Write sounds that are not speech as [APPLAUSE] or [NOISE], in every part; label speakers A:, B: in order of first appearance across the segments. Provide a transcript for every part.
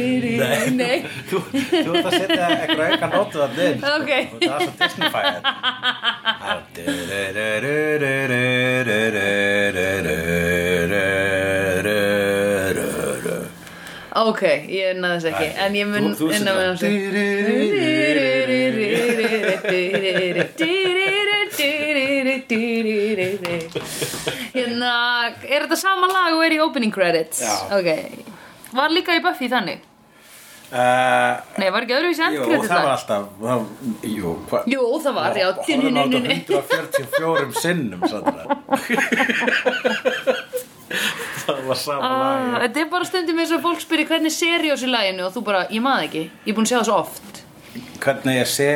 A: Nei, nei.
B: Þú, þú ert að setja eitthvað aukan nótu að dyn
A: Ok.
B: Þú ert að svo Disney-fæð
A: Ok, ég náði þess ekki En ég mun
B: Þú- þú
A: inn á
B: setur
A: meðan
B: það.
A: Hérna, er þetta sama lag og er í opening credits?
B: Já.
A: Ok, var líka í Buffy þannig?
B: Uh,
A: Nei, var ekki öðruvísi
B: Jú,
A: endkredits
B: það var alltaf það- Jú, hvað
A: Jú, það var, já
B: Hóðum á þetta 144 sinnum
A: [LAUGHS]
B: Sandra Það var sama
A: Ah,
B: lag
A: Þetta er bara stundum eins og fólk spyrir hvernig seri á sér læginu og þú bara, ég maður ekki, ég er búin að sjá það svo oft
B: Hvernig ég sé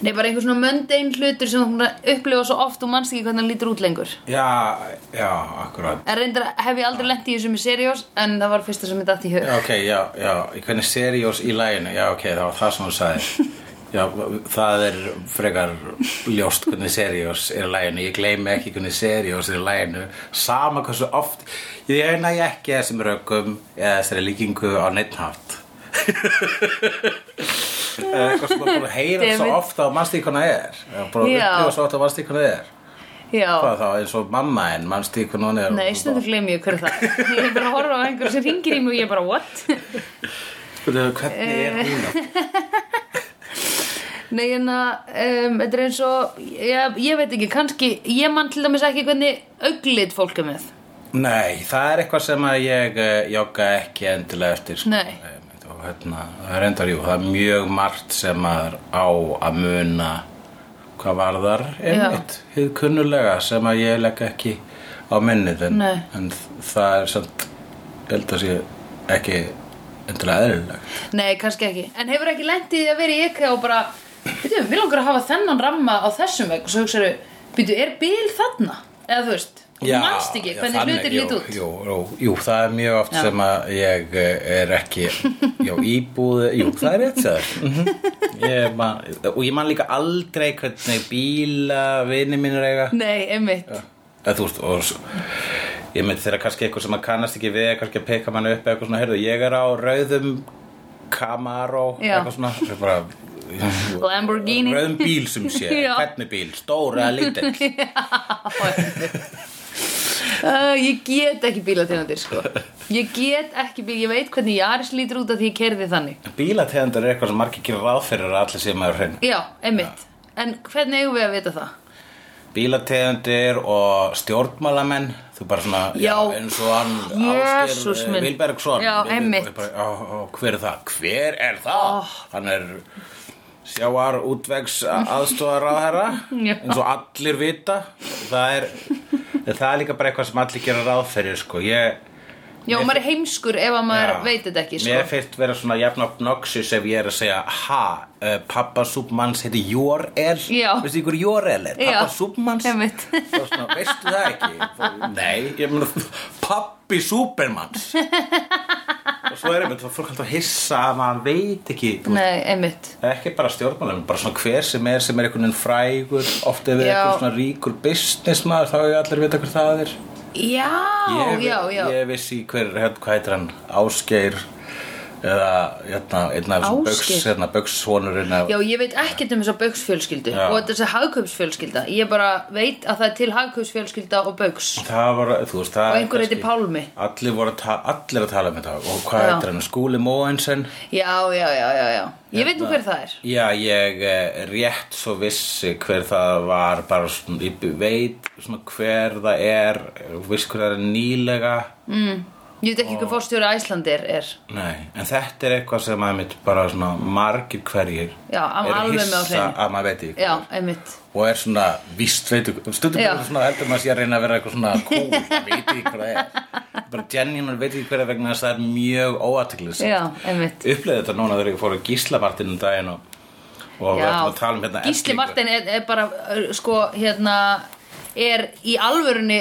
A: Nei, bara einhver svona mundane hlutur sem þú ert búin að upplifa svo oft og manst ekki hvernig hann lítur út lengur
B: Já, já, akkurat
A: En reyndar hef ég aldrei lent í þessu með seriós en það var fyrsta sem ég datt í hug
B: Já, ok, já, já, í hvernig seriós í læginu Já, ok, það var það sem hún sagði Já, það er frekar ljóst hvernig seriós er í læginu Ég gleymi ekki hvernig seriós er í læginu Sama hversu oft Ég eina ég ekki þessum rökum eða þessari líkingu á neittnátt Eitthvað sem bara búin að heyra svo
A: David.
B: ofta á mannstíkuna er Eða Bara
A: Já.
B: upplifa svo ofta á mannstíkuna er
A: Já,
B: Hvað þá, eins og mamma en mannstíkuna hún er
A: nei, stundum gleym ég hverju [LAUGHS] það Ég er bara að horfa á einhver sem ringir í mig og ég er bara, what?
B: Hvernig er hún að
A: [LAUGHS] Nei, en að, um, þetta er eins og ég, ég veit ekki, kannski ég man til dæmis ekki hvernig auglit fólk er með
B: Nei, það er eitthvað sem að ég eh, jogga ekki endilega eftir sko.
A: Nei.
B: Og hérna, það er endar, jú, það er mjög margt sem maður á að muna hvað varðar einmitt, hið kunnulega sem að ég legg ekki á minnið en,
A: Nei.
B: en það er samt, ég held að sé ekki endilega eðlilegt
A: Nei, kannski ekki. En hefur ekki lendið því að vera í IKEA og bara, veitum, við langar að hafa þennan ramma á þessum vegg og svo hugsaðu, býtu, er bíl þarna? Eða þú veist, þú manst ekki
B: já,
A: hvernig
B: þannig,
A: hlutir
B: jú,
A: lít út.
B: jú, jú, jú, það er mjög oft
A: Já.
B: sem að ég eh, er ekki Já,
A: [LAUGHS]
B: íbúð, jú, það er rétt sér ég man, Og ég man líka aldrei hvernig bíla vini mínur eiga
A: Nei, einmitt.
B: Eða, þú veist, og s- ég myndi þeirra kannski eitthvað sem að kannast ekki við kannski að peka mann upp eða eitthvað svona, heyrðu, ég er á rauðum Camaro
A: Já.
B: eitthvað svona, svo bara
A: Lamborghini.
B: rauðum bíl sem sé,
A: [LAUGHS] Já.
B: hvernig bíl stóra eða
A: [LAUGHS]
B: lítill
A: Uh, ég get ekki bílategundir, sko. Ég get ekki bíl, ég veit hvernig Jaris lítur út af því ég kerði þannig.
B: Bílategundar er eitthvað sem margir gerir ráð fyrir að allir séu maður hrein.
A: Já, einmitt. En hvernig eigum við að vita það?
B: Bílategundir og stjórnmálamenn, þú bara svona,
A: Já.
B: eins og hann
A: Jesús
B: Ásgeir eh,
A: minn.
B: Vilbergsson.
A: Já,
B: Við-
A: einmitt. Oh.
B: við bara, Ó, ó, hver er það? Hver er það? Hann er sjáar útvegs aðstofar
A: [LAUGHS] Já.
B: eins og allir vita. Það er, það er líka bara eitthvað sem allir gerir ráð fyrir, sko. Ég,
A: Já, maður er heimskur ef að maður
B: Já.
A: veit þetta ekki, sko.
B: Mér finnst vera svona jafn obnoxis ef ég er að segja Ha, uh, pappa Súbmanns heiti Jor-El
A: Já.
B: Veistu ykkur Jor-El er? Pappa
A: Já,
B: Súbmanns
A: einmitt. [LAUGHS]
B: Þá svona, Veistu það ekki? Þá, Nei, ég mun Pappi Súpermanns Og svo er einmitt þá fólk alltaf hissa að maður veit ekki þú veist,
A: Nei, einmitt.
B: Það er ekki bara stjórnmálum, bara svona hver sem er sem er einhvern veginn frægur oft ef við
A: Já.
B: einhvern svona ríkur businessmaður þá hefur allir vita hver það er
A: Já,
B: ég,
A: já, já.
B: ég vissi hver, hérna, hvað heitir hann Ásgeir eða hérna, einn af þessum
A: Ásgeir?
B: bögs hérna, bögssonurinn af-
A: Já, ég veit ekkert um þessa bauksfjölskyldu
B: Já.
A: og þessi hagkaupsfjölskylda. Ég bara veit að það er til hagkaupsfjölskylda og bauks.
B: það var, þú veist, það
A: Og
B: er
A: einhver
B: kannski-
A: heitir Pálmi.
B: allir, voru að ta- allir að tala um þetta og hvað
A: Já.
B: heitir hann, Skúli Móensen
A: Já, já, já, já, já. Ég veit
B: Hérna-
A: nú hver það er.
B: já, ég eh, rétt svo vissi hver það var bara svona, ég veit svona hver það er viss hver það er nýlega
A: Mm. Ég veit ekki hver fórstjóri Æslandir er.
B: Nei, en þetta er eitthvað sem að mitt bara svona margir hverjir
A: Já, am-
B: eru
A: alveg með á
B: hissa
A: hreinu.
B: að maður veit ekki hver
A: Já,
B: er.
A: einmitt.
B: og er svona víst veitu stundum
A: Já.
B: er svona heldur maður sé að reyna að vera eitthvað svona cool, það veit ekki hvað það er bara Jenny veit ekki hverja vegna þess að það er mjög óatiklis
A: Já, einmitt.
B: uppleði þetta núna þegar ég fór á Gíslamartin um daginn og, og við ætlum að tala um hérna
A: Gísli
B: ellingu.
A: Martin er, er bara, er, sko, hérna, er í alvörunni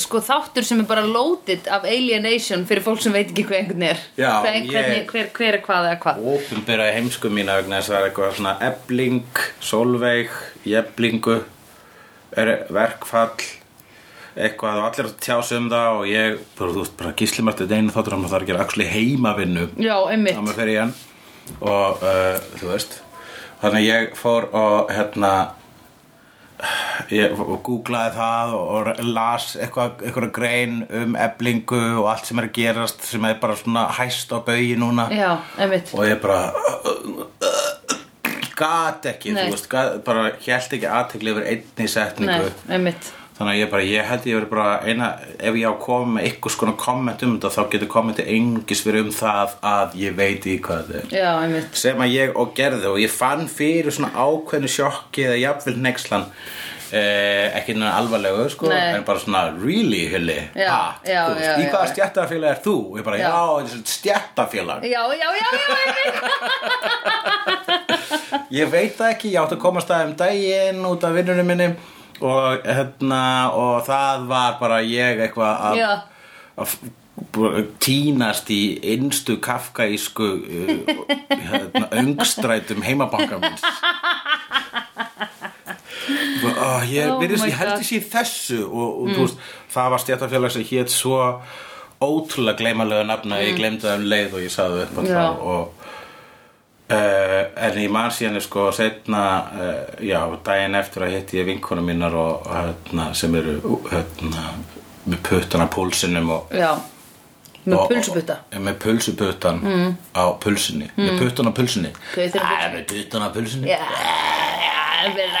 A: sko þáttur sem er bara loaded af alienation fyrir fólk sem veit ekki hver einhvern er
B: Já,
A: hver,
B: ég-
A: hvernig, hver, hver er hvað eða hvað
B: Ópenbera heimsku mína vegna þess að það er eitthvað svona ebling, solveig, jeflingu, er verkfall, eitthvað og allir að tjá sig um það og ég, bara, þú veist, bara gíslimært þetta einu þáttur að maður þarf að gera axli heimavinnu
A: Já,
B: þá maður
A: einmitt
B: fer í hann og uh, þú veist þannig að ég fór og hérna ég og googlaði það og, og las eitthvað, eitthvað grein um eblingu og allt sem er að gerast sem er bara svona hæst á baugi núna
A: Já, einmitt
B: og ég bara gat ekki,
A: Nei.
B: þú veist gat, bara hélt ekki aðtekli yfir einni
A: Nei,
B: setningu
A: einmitt
B: Þannig að ég bara, ég held ég verið bara eina, ef ég á að koma með eitthvað skona komment um þetta þá getur kommentið einungis verið um það að ég veit í hvað þetta er.
A: Já, einmitt
B: Sem að ég og gerði og ég fann fyrir svona ákveðnu sjokki eða jafnvel nexlan, eh, ekki nú alvarlegu sko,
A: Nei.
B: en bara svona really hilli.
A: Já, já, já, já,
B: Í hvaða
A: já.
B: stjættafélag er þú? Og ég bara,
A: Já.
B: já, þetta er svona stjættafélag.
A: Já, já, já, já, einmitt
B: [LAUGHS] Ég veit það ekki, ég átti að koma að staðum daginn út af vinnunum minni og, hérna, og það var bara ég eitthvað að,
A: Já.
B: að f- bara tínast í innstu kafkaísku uh,
A: [LAUGHS]
B: hérna, öngstrætum heimabanka minns. Oh, ég,
A: Oh
B: oh byrjast,
A: my
B: ég held
A: God. Mm.
B: ég sé í þessu og, og þú veist, það var stjættafélag sem hét svo ótrúlega gleymalega nafna ég glemdi það um leið og ég sagði það upp á
A: Mm. Já.
B: það og Uh, en ég man síðan sko setna, uh, já, daginn eftir að hitti ég vinkonu mínar og hérna, sem eru hérna, með puttana púlsinum og,
A: Já, með
B: og-
A: pulsuputta Mm.
B: og- með pulsuputtan á pulsinni, með puttana pulsinni
A: Þau þurfa
B: Æ, með puttana pulsinni
A: Já, já, einmitt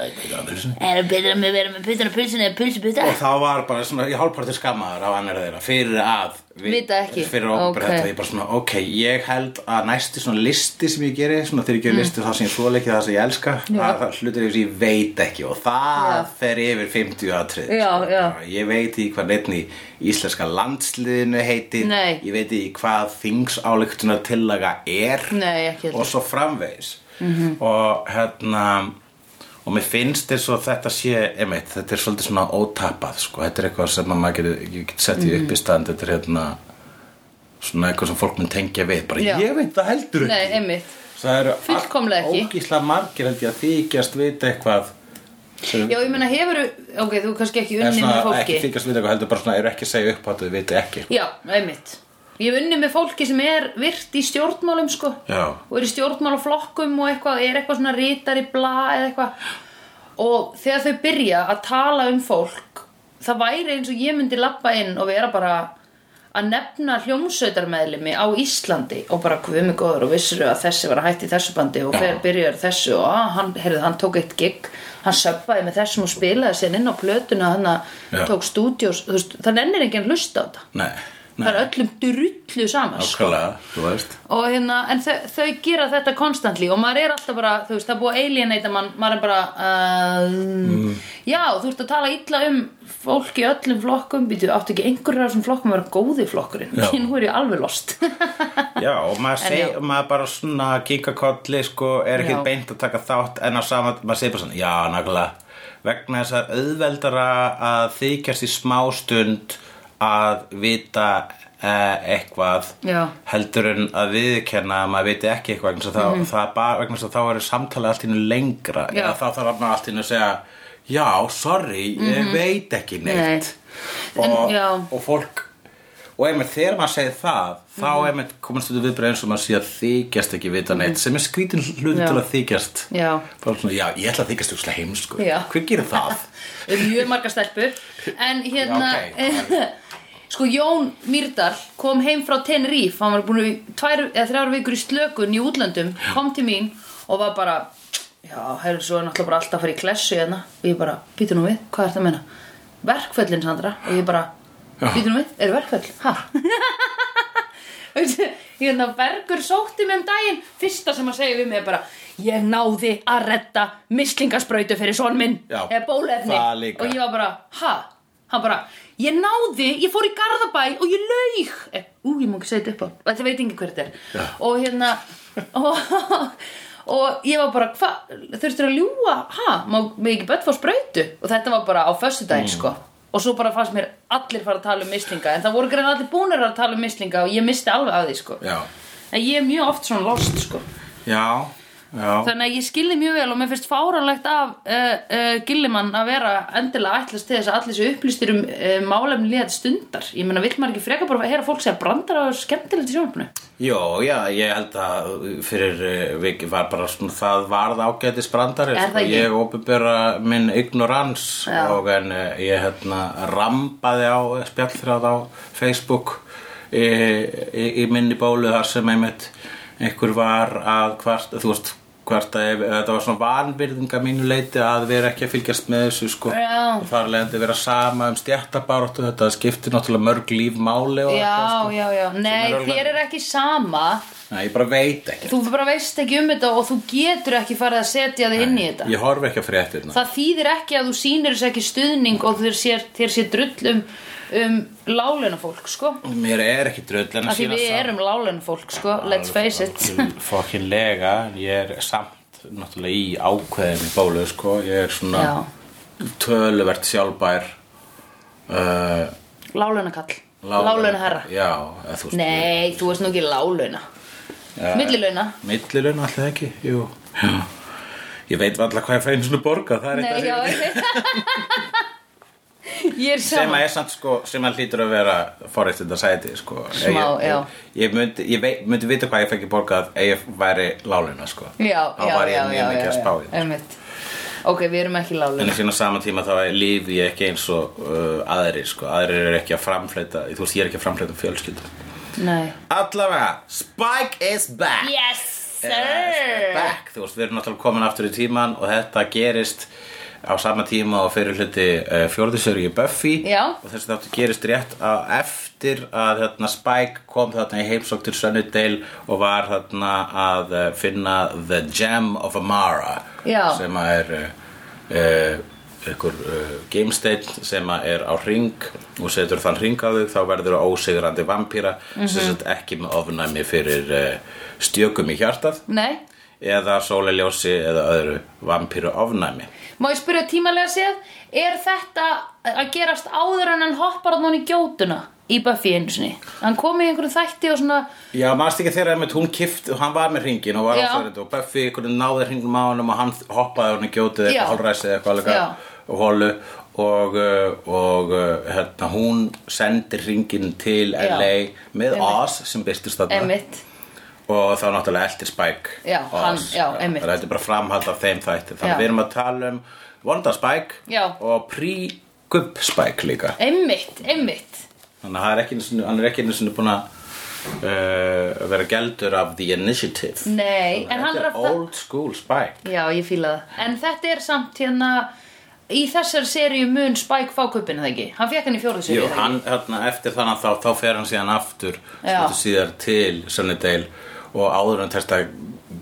B: Með puttana pulsinni
A: Er það betra með að vera með puttana pulsin eða pulsuputta?
B: og þá var bara svona, ég hálfparti skammaður á annar þeirra fyrir að vi-
A: Vita ekki.
B: fyrir að
A: Ok.
B: okay. þetta, ég bara svona, ok, ég held að næsti svona listi sem ég geri svona þegar ég
A: Mm.
B: geri listi það sem ég þóla ekki það sem ég elska það það hlutir yfir sem ég veit ekki og það fer yfir 50 atrið
A: Já, já.
B: ég veit í hvað neitt í íslenska landsliðinu heitir
A: Nei.
B: ég veit í hvað þingsályktunar tillaga er
A: Nei, ekki
B: og
A: heldur
B: svo framvegis Mm-hmm. og hérna og mér finnst eins og þetta sé einmitt, þetta er svolítið svona ótapað sko. þetta er eitthvað sem að maður getur get sett
A: Mhm.
B: í upp í stand, þetta er hérna svona eitthvað sem fólk mun tengja við bara
A: Já.
B: ég veit það heldur
A: Nei,
B: ekki
A: einmitt
B: það eru
A: Fullkomlega ekki.
B: ógísla margir held ég að þykjast vita eitthvað sem,
A: Já, ég meina, hefur, ok, þú kannski ekki
B: er
A: unnið með
B: svona,
A: fólki
B: ekki þykjast vita eitthvað heldur bara svona eru ekki að segja upp á þetta við vita ekki
A: Já, einmitt Ég hef unnið með fólki sem er virt í stjórnmálum, sko
B: Já.
A: Og er í stjórnmálaflokkum og eitthvað, er eitthvað svona rítari bla eða eitthvað Og þegar þau byrja að tala um fólk Það væri eins og ég myndi labba inn og vera bara að nefna hljómsveitarmeðlimi á Íslandi og bara kvömi góður og vissir að þessi var að hætti þessu bandi og
B: Já.
A: hver byrjar þessu og að, hann, heyrðu, hann tók eitt gig hann söppaði með þessum og spilaði sér inn á plötuna hann
B: Já.
A: tók stúdíós þú veist, það nennir enginn að hlusta á þetta
B: Nei,
A: það
B: nei,
A: er öllum drullu saman sko.
B: ákvæðlega, þú veist
A: og hérna, en þau, þau gera þetta konstantli og maður er alltaf bara, þú veist, það er búið að alienata mann, maður er bara uh,
B: Mm.
A: já, þú ert að tala illa um fólk í öllum flokkum býtu, áttu ekki einhverjur af þessum flokkum að vera góði flokkurinn
B: Já.
A: [LAUGHS] nú er ég alveg lost
B: [LAUGHS] Já, og maður,
A: En
B: seg,
A: já.
B: maður bara svona kinka kolli, sko, er ekki
A: Já.
B: beint að taka þátt en á sama, maður segir bara svona, já, nákvæmlega vegna þess að auðveldara að þykjast í smástund að vita eh, eitthvað
A: Já.
B: heldur en að viðkenna að maður viti ekki eitthvað vegna þess að, mm -hmm. það, bara- vegna þess að þá eru samtalið allt í innu lengra
A: Mhm. Já.
B: eða þá þarf maður allt í innu að segja já, sorry,
A: Mhm.
B: ég veit ekki neitt
A: En,
B: og,
A: já.
B: og fólk og einmitt þegar maður segir það þá
A: Mhm.
B: einmitt komast þetta viðbreið eins og maður sé að þykjast ekki vita neitt sem er skrítin hlut
A: Já.
B: til að þykjast
A: Já.
B: bara svona, já, ég ætla að þykjast ekki heimsku
A: Já.
B: hver gerir það?
A: um mjög margar stelpur en [LAUGHS] hérna
B: Já,
A: sko Jón Mýrdal kom heim frá Tenerife hann var búin í tvær eða þrjár vikur í slökun í útlöndum kom til mín og var bara já, heyrðu svo er náttúrulega bara alltaf að fara í klessu hérna og ég bara, býtu nú við, hvað er það að meina verkföllin Sandra og ég bara býtu nú við, eru verkföll, ha? [LAUGHS] hérna Bergur sótti mig um daginn fyrsta sem að segja við mig er bara ég náði að redda mislingasprautu fyrir son minn
B: Já,
A: eða bólefni
B: það líka.
A: og ég var bara, ha? hann bara, ég náði, ég fór í Garðabæ og ég laug Eh, ú, ég má ekki segja þetta upp á, þetta veit ekki hver þetta er og hérna [LAUGHS] og, og ég var bara, hva, þurftur að ljúga ha, má mig ekki börn fá sprautu og þetta var bara á föstudaginn, sko og svo bara fannst mér allir fara að tala um mislinga en það voru greið allir búnir að tala um mislinga og ég misti alveg að því, sko
B: já,
A: En ég er mjög oft svona lost, sko.
B: já Já.
A: þannig að ég skilði mjög vel og mér finnst fáranlegt af uh, uh, Gillimann að vera endilega ætlast til þess að allir séu upplýstir um uh, málefni liðat stundar ég meina, vill maður ekki freka bara að heyra fólk segja brandar á skemmtilegt í sjónvarpinu
B: Jó, já, ég held að fyrir eh, viki var bara svona það varð ágætis brandari sko.
A: Er það ekki?
B: Ég opinbera minn ignorans
A: Já.
B: og en eh, ég hérna rambaði á spjallþráð á Facebook í, í, í minni bólu þar sem einmitt einhver var að hvart, þú veist hvart að ef- þetta var svona vanvirðinga mínu leiti að vera ekki að fylgjast með þessu sko
A: Já.
B: og þar leðandi vera sama um stjættabaráttu þetta skiptir náttúrulega mörg líf máli og þetta
A: já,
B: sko.
A: já, já, nei,
B: er alveg-
A: þér er ekki sama
B: Nei, ég bara veit ekki
A: þú bara veist ekki um þetta og þú getur ekki farið að setja þig inn í þetta
B: Ég horf ekki að fréttirna
A: það þýðir ekki að þú sýnir þess ekki stuðning og þér sér, þér sér drull um, um láleina fólk, sko
B: Mér er ekki drull en
A: af því við
B: samt-
A: erum láleina fólk, sko, let's face it
B: Alveg Fucking lega, ég er samt náttúrulega í ákveðinni bólu sko. Ég er svona
A: Já.
B: töluvert sjálfbær uh,
A: láleina kall, láleina herra
B: Já, eða þú veist
A: Nei, þú veist nú ekki lálauna ja. Millilauna
B: Millilun alltaf ekki, jú já. Ég veit varla hvað ég fæði svona borga Það er
A: Nei,
B: eitthvað
A: já [LAUGHS]
B: sem-
A: Ég er
B: sem að
A: saman
B: er samt sko, sem að hlýtur að vera forréttinda sæti sko.
A: Smá,
B: ég,
A: já.
B: ég, ég myndi, ég veit, myndi vita hvað ég fengi borgað ef ég væri láluna sko.
A: Já,
B: þá
A: já,
B: var
A: já,
B: ég
A: já,
B: mjög
A: já,
B: mikið að
A: já,
B: spá í það
A: einmitt. Ok, við erum ekki
B: en
A: lálauna
B: síðan á sama tíma þá lífi ég ekki eins og uh, aðrir sko. aðrir eru ekki að framfleyta þú veist ég er ekki að framfleyta fjölskyldu
A: Nei
B: allavega, Spike is back
A: Yes,
B: Eh,
A: sir
B: back, þú veist, við erum náttúrulega komin aftur í tíman og þetta gerist á sama tíma og fyrir hluti uh, fjórðisöru í Buffy
A: Já.
B: og þessi þáttu gerist rétt að eftir að hérna, Spike kom þarna í heimsók til Sunnydale og var þarna að uh, finna The Gem of Amara
A: Já.
B: sem að er uh, einhver uh, gamesteinn sem að er á ring og setur þann ring á þig þá verður þú ósigrandi vampíra sem sett ekki með ofnæmi fyrir uh, stjökum í hjartað
A: Nei
B: eða sóleljósi eða öðru vampíru ofnæmi
A: Má ég spyrja tímalega séð, er þetta að gerast áður en hann hoppar að í gjótuna í Buffy einu sinni? Hann kom í einhverju þætti og svona,
B: Já, maðurst ekki þegar einmitt hún kift, hann var með ringin og var
A: Já.
B: áfærið og Buffy einhvern veginn náði hringnum á honum og hann hoppaði hún í gjótið
A: Já.
B: eitthvað holræsi eða eitthvað alveg
A: Já.
B: og holu og, uh, og uh, hérna, hún sendir ringin til
A: Já.
B: LA með
A: Einmitt.
B: Oz sem byrstist þarna
A: einmitt
B: og þá náttúrulega eldir Spike
A: Já,
B: Oz.
A: hann- já, einmitt.
B: Það er bara framhald af þeim þætti þannig
A: Já.
B: að við erum að tala um vonda Spike
A: Já.
B: og pre-gubb Spike líka
A: Einmitt, einmitt
B: Þannig að hann er ekki einu sinni- hann er ekki einu sinni búin að uh, vera gældur af The Initiative.
A: Nei, en hann
B: Þetta
A: er
B: er
A: að
B: old school Spike.
A: Já, ég fíla það. En þetta er samt hérna, í þessar seríu mun Spike fá kuppinu það ekki? Hann fekk hann í fjóruðu seríu
B: Jú,
A: það ekki?
B: hann, hérna, eftir þannig þá, þá fer hann síðan aftur,
A: Já.
B: stundum síðar til Sunnydale og áður en testa að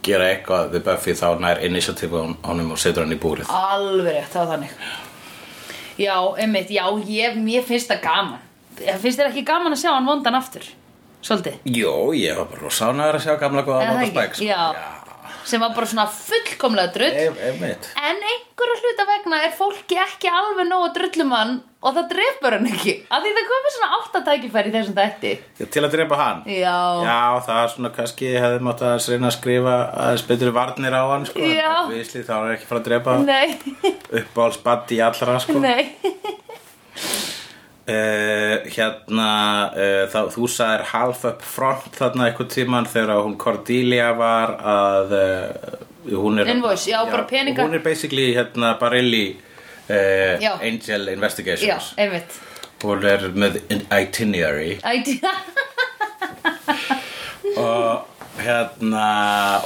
B: gera eitthvað við Buffy þá nær Initiative á honum og setur hann í búrið.
A: Alveg rétt, það var þannig. Já, einmitt, já, ég, mér finnst það gaman. Ég finnst þér ekki gaman að sjá hann vondan aftur? Svolítið.
B: Jó, ég var bara rosánaður að sjá gamla góða
A: Eða það
B: Wanda
A: ekki?
B: Spike. sko.
A: Já. Sem var bara svona fullkomlega drull.
B: Ef- Einmitt.
A: En einhverju hluta vegna er fólki ekki alveg nógu drullum hann og það drefur hann ekki. Af því það komið svona áttatækifæri í þessum þætti.
B: Já, Til að drepa hann.
A: Já.
B: Já, það er svona kannski hefði mátt að reyna að skrifa aðeins betri varnir á hann sko,
A: Já.
B: Vísli, þá er ekki fara að drepa
A: Nei. [LAUGHS]
B: uppáhaldsbandi í allra sko.
A: Nei.
B: Eh, hérna, uh, þá, þú sagðir half up front þarna einhvern tíman þegar hún Cordelia var að uh, hún er
A: Invoice, já, bara peninga.
B: Hún er basically hérna Barilli uh,
A: Já.
B: Angel
A: Já,
B: Investigations
A: einmitt.
B: Hún er með itinerary
A: Æti, [LAUGHS]
B: og hérna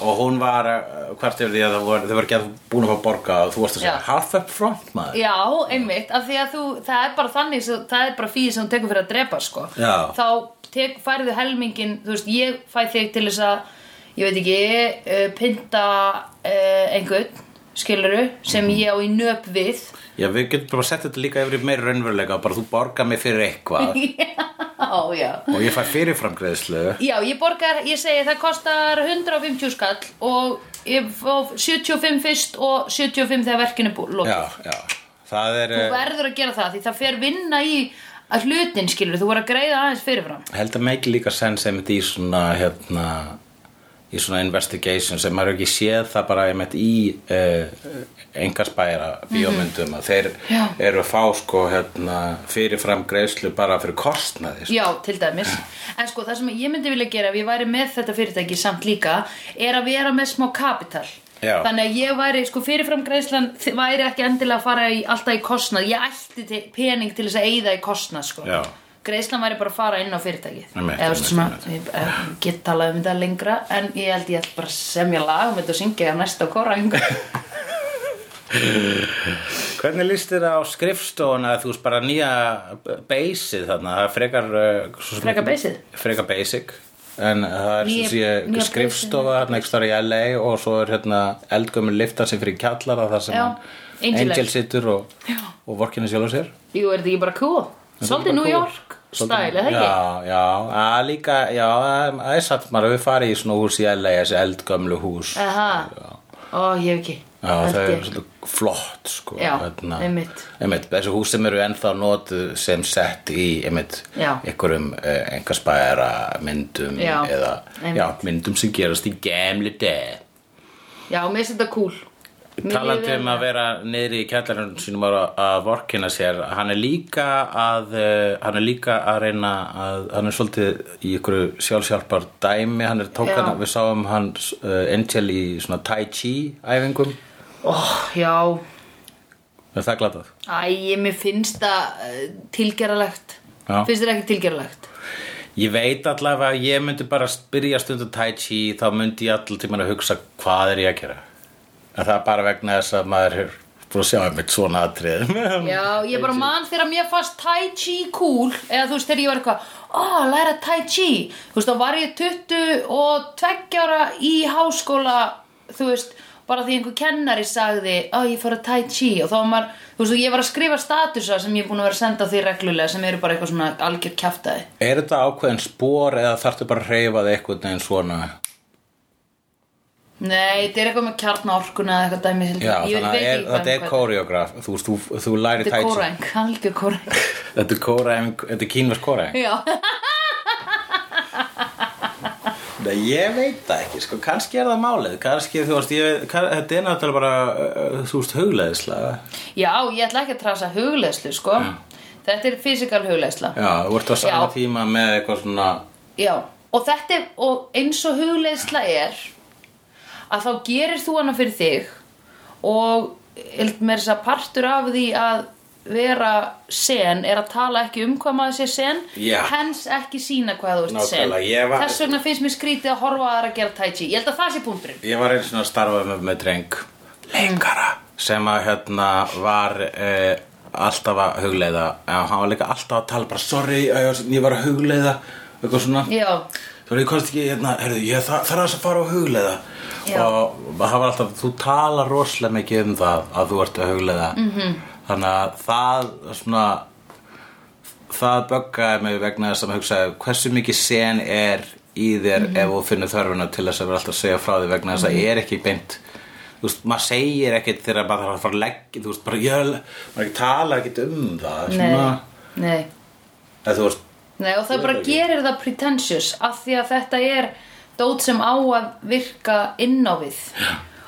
B: og hún var uh, hvert yfir því að það voru, þau voru ekki að búin að fá borga og þú varst að segja
A: Já.
B: half up front maður
A: já, einmitt, af því að þú, það er bara þannig, sem- það er bara fíði sem þú tekur fyrir að drepa, sko.
B: Já.
A: Þá tek, færðu helmingin, þú veist, ég fæ þig til þess að, ég veit ekki, uh, pynta uh, einhvern, skiluru, sem
B: Mhm.
A: ég á í nöp við. [LAUGHS]
B: Já, við getum bara að setja þetta líka yfir í meira raunveruleika bara þú borga mig fyrir eitthvað
A: [LAUGHS] já, já.
B: og ég fæ fyrirframgreðslu
A: Já, ég borgar, ég segi það kostar 150 skall og ég fá 75 fyrst og 75 þegar verkinu er búið. lokið.
B: Já, já Það er,
A: Þú
B: eh,
A: verður að gera það því það fer vinna í að hlutin skilur, þú voru að greiða aðeins fyrirfram
B: held að make líka sens einmitt í svona hérna í svona investigation sem maður hefur ekki séð það bara einmitt í uh, engarspæra bíómyndum að þeir
A: Mhm. Já.
B: eru að fá sko hérna, fyrirfram greiðslu bara fyrir kostnaði sko.
A: Já, til dæmis. En sko, það sem ég myndi vilja gera ef ég væri með þetta fyrirtæki samt líka er að vera með smá kapital.
B: Já.
A: Þannig að ég væri, sko, fyrirfram greiðslan þi- væri ekki endilega að fara í, alltaf í kostnað. Ég ætti til, pening til þess að eyða í kostnað, sko.
B: Já.
A: Greiðslan væri bara að fara inn á fyrirtækið.
B: Einmitt,
A: Eða veist svona,
B: einmitt,
A: ég eh, get talað um þetta lengra, en ég held ég ætti bara að semja lag um þetta og syngja næsta
B: [LAUGHS]
A: kóraðingu.
B: Hvernig líst þér á skrifstofuna að þú veist bara nýja beysið þarna, það er frekar uh, svo sem-
A: Frekar basið?
B: Frekar basic En það er
A: Nýja-
B: sem sé
A: nýja
B: skrifstofa hérna ekki stóri í LA og svo er hérna eldgömmur lifta sem fyrir kjallara þar sem
A: Já,
B: hann-
A: Angel
B: Angel
A: er.
B: situr og, og vorkinu sjálf sér
A: Jú, er þetta ekki bara cool? Svolítið New York stæl, eða ekki?
B: Já, já, að líka, já, að- það er satt maður við farið í svona hús í LA, þessi eldgömlu hús
A: Aha, ó, ég hef ekki
B: Já,
A: Held
B: það
A: ég.
B: er svolítið flott sko,
A: Já, einmitt.
B: einmitt Þessu hús sem eru ennþá notuð sem sett í einmitt,
A: Já.
B: einhverjum eh, einhverspæra myndum
A: Já,
B: eða
A: einmitt.
B: já, myndum sem gerast í gemli deg
A: Já, mér finnst þetta cool Mér
B: Talandi
A: líður-
B: um að vera niðri í kjallarinn sínum að, að vorkina sér hann er líka að eh, hann er líka að reyna að hann er svolítið í ykkur sjálfsjálpar dæmi, hann er
A: Já.
B: tókan við sáum hann uh, Angel í svona Tai Chi æfingum,
A: Ó, Oh, já,
B: er það glatað?
A: æ, ég- mér finnst það eh, tilgeralegt
B: Já.
A: Finnst þetta ekki tilgeralegt?
B: Ég veit allavega að ég myndi bara byrja stundum tai chi þá myndi ég alltaf tímann að hugsa hvað er ég að gera en það er bara vegna þess að maður er búin að sjá einmitt svona atrið
A: [LAUGHS] Já, ég bara man þegar mér fannst Tai Chi cool eða þú veist þegar ég var eitthvað ó, læra Tai Chi þú veist, þá var ég 22 ára í háskóla þú veist, bara því einhver kennari sagði ó, ég fór að Tai Chi og þá var maður, þú veist, og ég var að skrifa statusa sem ég er búin að vera að senda því reglulega sem eru bara eitthvað svona algjör kjaftaði
B: Er þetta ákveðin spór eða þarftu bara að hreyfa þig einhvern veginn svona
A: Nei, þetta er eitthvað með kjarnaorkuna eða eitthvað dæmi
B: Já, þannig að er, þetta er koreograf þú, veist, þú, þú læri
A: Þetta
B: tai
A: er
B: chi
A: kóræng, [LAUGHS] algjör
B: [LAUGHS]
A: kóræng
B: Þetta er kóræng, þetta er kínvers kóræng
A: Já,
B: Nei, ég veit það ekki, sko, kannski er það málið kannski, þú veist, ég, kann, þetta er náttúrulega bara, uh, þú veist, hugleðislega
A: Já, ég ætla ekki að trasa hugleðslu, sko Þetta er fysikal hugleðsla
B: Já, þú ert á sama
A: Já.
B: tíma með eitthvað svona
A: Já, og þetta er, og eins og hugleiðsla er að þá gerir þú hana fyrir þig og held mér þess að partur af því að vera sen er að tala ekki um hvað maður sé sen
B: Já.
A: hens ekki sína hvað þú ert sen
B: Nákvæmlega, ég var-
A: þess vegna finnst mér skrítið að horfa að aðra að gera tai chi ég held að það sé punkturinn
B: Ég var einu svona að starfa með, með dreng Leikara Sem að hérna var uh, alltaf að hugleiða En hann var líka alltaf að tala bara Sorry, ég var- ég var að hugleiða Eitthvað svona
A: Já,
B: Svo ég komst ekki hérna, heyrðu, ég þa þarf aðeins að fara að hugleiða
A: Já.
B: Og það var alltaf, þú talar rosalega mikið um það Að þú ert að hugleiða
A: Mhm.
B: -hmm. Þannig að það svona Það böggaði mig vegna þess að maður hugsaði Hversu mikið sen er í þér
A: Mhm.
B: Ef þú finnur þörfuna til þess að vera alltaf að segja frá því Vegna þess að það er ekki beint Þú veist, maður segir ekkert þegar maður þarf að fara að leggja Þú veist, bara jöl Maður ekki tala ekkert um það
A: nei,
B: svona,
A: nei
B: eða, Þú veist,
A: Nei, og það
B: Ég
A: bara
B: veit ekki.
A: gerir það pretentious af því að þetta er dót sem á að virka inn á við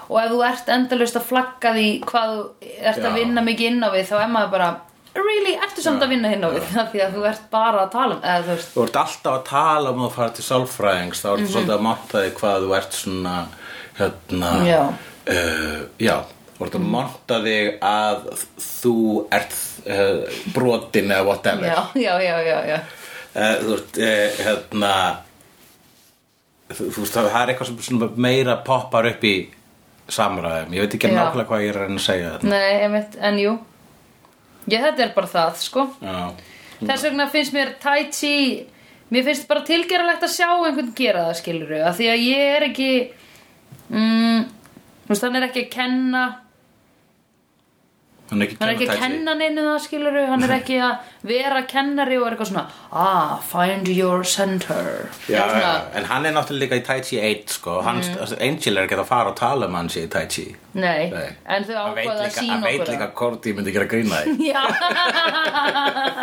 A: og ef þú ert endalaust að flagga því hvað þú ert
B: Já.
A: að vinna mikið inn á við þá er maður bara, really, ertu samt að vinna inn á við [LAUGHS] af því að þú ert bara að tala um eða þú veist,
B: þú ert alltaf að tala um að fara til sálfræðings þá ertu
A: Mhm.
B: svolítið að monta þig hvað þú ert svona hérna
A: Já.
B: uh, já þú ert að monta þig að þú ert uh, brotin eða whatever
A: já, já, já, já, já
B: uh, þú ert uh, hérna þú, þú veist það það er eitthvað sem svona meira poppar upp í samræðum ég veit ekki
A: Já.
B: nákvæmlega hvað ég er að reyna að segja þetta
A: Nei, einmitt, en jú Ég, þetta er bara það, sko
B: já
A: Þess vegna finnst mér tai chi Mér finnst bara tilgerulegt að sjá einhvern gera það skilur við Því að ég er ekki mm, Þú veist, hann er ekki að kenna
B: Hann er ekki
A: hann er ekki að
B: kennatæki.
A: kenna neinu það skiluru hann er ekki að vera kennari og er eitthvað svona ah, find your center
B: Já,
A: Eitthvað svona,
B: en hann er náttúrulega líka í Tai Chi 1 sko,
A: Mm.
B: Hans, Angel er ekki að fara og tala um hans í Tai Chi
A: nei,
B: Nei.
A: en þau
B: Hann veit
A: ákvaða að
B: líka, hann
A: sína
B: veit
A: okkur
B: líka
A: það.
B: hvort ég myndi gera grína þig
A: já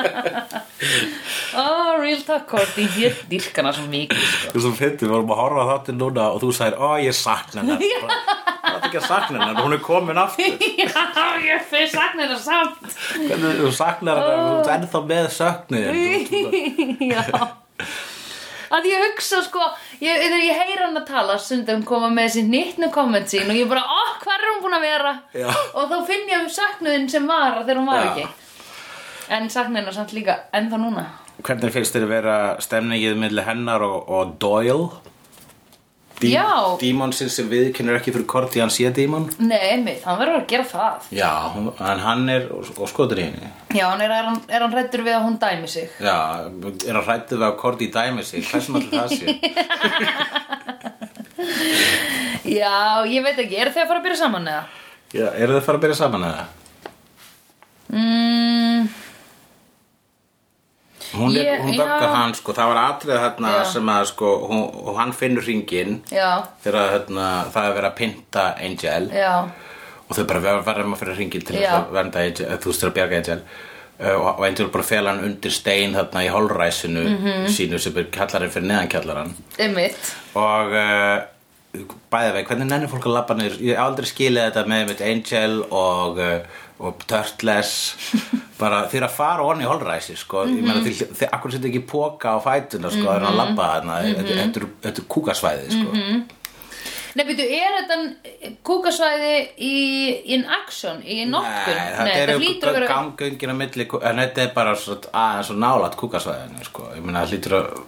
A: [LAUGHS] oh, real talk Korti, ég dýrkana svo mikið
B: [LAUGHS]
A: sko.
B: Þú svo fyndi, við vorum að horfa á þáttinn núna og þú sagðir, ó ég sakna [LAUGHS] hennar Það er ekki að sakna hennar, hún er komin [LAUGHS] aftur
A: já, ég fyrir sakna þetta samt
B: Hvernig þú saknar hennar, þú ert ennþá með söknu
A: já að ég hugsa sko ég, þegar ég heyra hann að tala stundum koma með þessi nýttnu komment sín og ég bara, oh, hvað er hún búin að vera
B: Já.
A: og þá finn ég um saknuðin sem var þegar hún var
B: Já.
A: ekki en saknuðin er samt líka ennþá núna
B: Hvernig finnst þér að vera stemningið milli hennar og, og Doyle? Dí-
A: Já.
B: Dímonsinn sem viðkennir ekki fyrir hvort í hann sé dímon
A: nei, einmitt, hann verður að gera það
B: Já, hún- en hann er og, og skotur í henni
A: já, hann er, er, hann- er hann hræddur við að hún dæmi sig
B: Já, er hann hrættið við að Korti dæmi sig, hversum allir það sé?
A: já, ég veit ekki, eru þau að fara að byrja saman eða?
B: [LAUGHS] Já, eru þið fara að byrja saman eða?
A: Mm,
B: Hún, er,
A: Ég-
B: hún
A: já.
B: döggar hann sko, það var atrið þarna
A: Já.
B: sem að sko, hún, og hann finnur ringin
A: já,
B: þegar þarna, það er verið að pynta Angel
A: já
B: og þau bara ver- verðum að fyrir ringin til þess
A: Já.
B: að vernda Angel, eða þú veist til að bjarga Angel Uh, og og Angel bara fel hann undir stein þarna í holræsinu
A: Mhm.
B: sínu sem er kallarinn fyrir neðan kallarann
A: einmitt
B: og uh, bæði vei, hvernig nennir fólk að labba niður ég hef aldrei skilið þetta með mitt Angel og, uh, og
A: [LAUGHS]
B: Turtles bara þeir að fara onni í holræsi sko, ég
A: Mhm.
B: meina þeir, þeir akkur setja ekki póka á fætuna sko, þeir að labba þarna þetta
A: Mhm.
B: þetta eru- þetta er kúkasvæði sko.
A: Nei, byrju, er þetta kúkasvæði í in action, í notkun?
B: Nei,
A: Nei,
B: þetta
A: þetta
B: eru
A: hlýtur að vera...
B: gangöngin á milli kú- en þetta er bara svo, aðeins og nálat kúkasvæðinu sko. ég meina það hlýtur að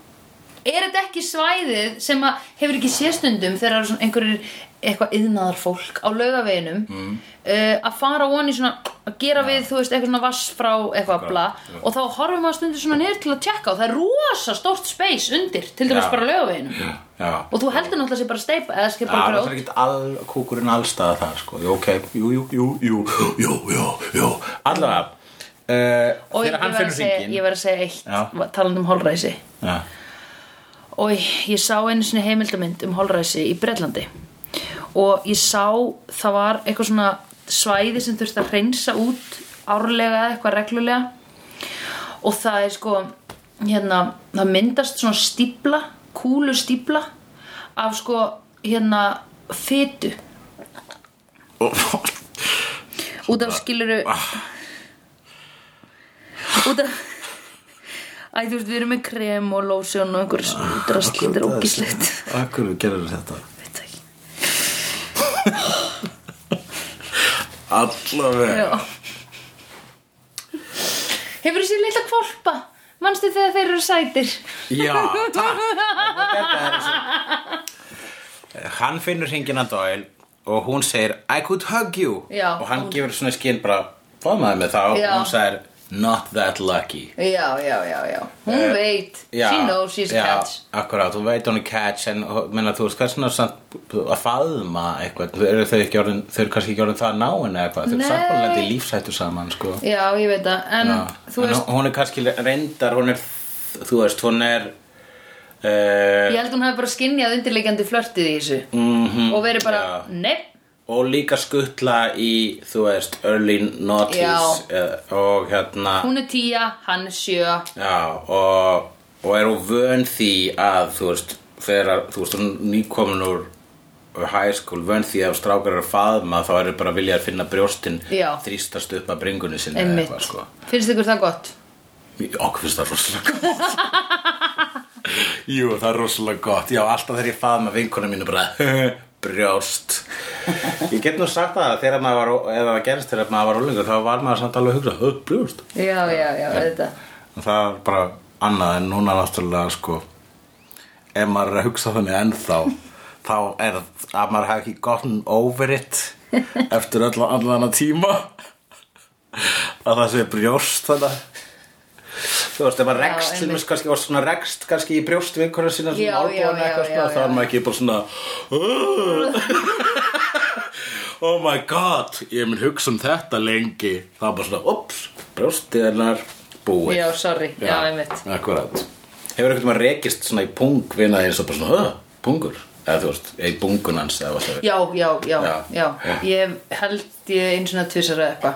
A: Er þetta ekki svæðið sem að hefur ekki sérstundum þegar eru svona einhverjir eitthvað yðnaðar fólk á laugaveginum
B: Mm.
A: uh, að fara von í svona að gera við, þú veist, eitthvað svona vass frá eitthvað bla og þá horfum að stundu svona niður til að tjekka og það er rosa stórt space undir til dæmis
B: Já.
A: bara laugaveginum
B: já.
A: og þú heldur náttúrulega sér bara steipa eða sér
B: Já,
A: bara
B: það er
A: grjót
B: ekkert all, kúkurinn allstaða þar sko. Jú, ok, jú, jú, jú, jú, jú, jú, jú Allavega uh,
A: og ég
B: Þegar hann
A: verð að
B: finnur
A: segja,
B: hringin
A: ég verð að segja eitt
B: Já.
A: talandi um holræsi
B: Já,
A: og ég sá einu sinni heimildamynd um holræsi í Bretlandi og ég sá það var eitthvað svona svæði sem þurfti að hreinsa út árlega eða eitthvað reglulega og það er sko hérna, það myndast svona stípla kúlu stípla af sko hérna fytu út af skiluru út af Æ, þú veist, við erum með krem og lósjón og einhverjum svona drastlítur og
B: Akkur-
A: [LAUGHS] ógislegt.
B: Akkur gerur þetta
A: Veit það ekki.
B: [LAUGHS] Allavega
A: Já. Hefur þessi litla kvolpa? Manstu þegar þeir eru sætir?
B: Já, takk Þetta er þessi. Hann finnur hringin að dæl og hún segir I could hug you
A: Já,
B: og hann
A: hún-
B: gefur svona skinn bara fómaði með þá
A: Já.
B: og hún segir not that lucky
A: Já, já, já, já. Hún
B: Eh,
A: veit. She knows she's a
B: já,
A: catch.
B: Akkurát, hún veit hún er catch en hó- meina, þú veist hversna samt að faðma eitthvað, þau eru þau ekki orðin þau eru kannski ekki orðin það náin eða eitthvað þau eru
A: Nei.
B: samfélandi lífsættu saman sko
A: Já, ég veit það. En
B: Já.
A: þú
B: En
A: veist,
B: hún er kannski reyndar, hún er þú veist, hún er uh,
A: ég held hún hafi bara skinnjað undirleikjandi flörtið í þessu.
B: mhm,
A: og verið bara,
B: já.
A: nepp.
B: og líka skutla í, þú veist, early noughties uh, og hérna
A: Hún er tíja, hann er sjö.
B: Já, og, og er hún vön því að, þú veist, þegar, þú veist, hún nýkomin úr úr high school, vön því að ef strákar eru að faðma, þá eru bara viljað að finna brjóstin
A: Já.
B: þrýstast upp að bringunni sinni eða
A: Einmitt.
B: eitthvað, sko.
A: Finnst ykkur það gott?
B: Okkur finnst það rosalega gott. [LAUGHS] Jú, það er rosalega gott. Já, alltaf þegar ég faðma vinkona mínu bara, [LAUGHS] brjóst. Ég get nú sagt það að þegar maður var, eða það gerist þegar maður var ólingur, þá var maður samt alveg að hugsa, "Hö, brjóst.
A: Já, já, já, auðvitað.
B: En það er bara annað en núna náttúrulega sko ef maður er að hugsa þannig ennþá [LAUGHS] þá er að maður hafi ekki gotten over it
A: [LAUGHS]
B: eftir öll allan að tíma að það sé brjóst þannig þú veist, ef maður
A: Já,
B: rekst til
A: einmitt.
B: mér kannski og svona rekst kannski í brjóst vinkonu sína
A: Já,
B: svona
A: já,
B: álbúin
A: já, já,
B: eitthvað svona
A: já.
B: þá er maður ekki bara svona oh my god, ég mun hugsa um þetta lengi það var bara svona, ups, brjóstið hennar búið
A: Já, sorry. Já, einmitt.
B: akkurat hefur einhvern veginn rekist svona í pung vinna þér svo bara svona, "Huh, pungur eða þú veist, í pungun hans eða hvað það er.
A: Já, já, já, já,
B: Já.
A: Ég held ég eins og það tvisara eitthvað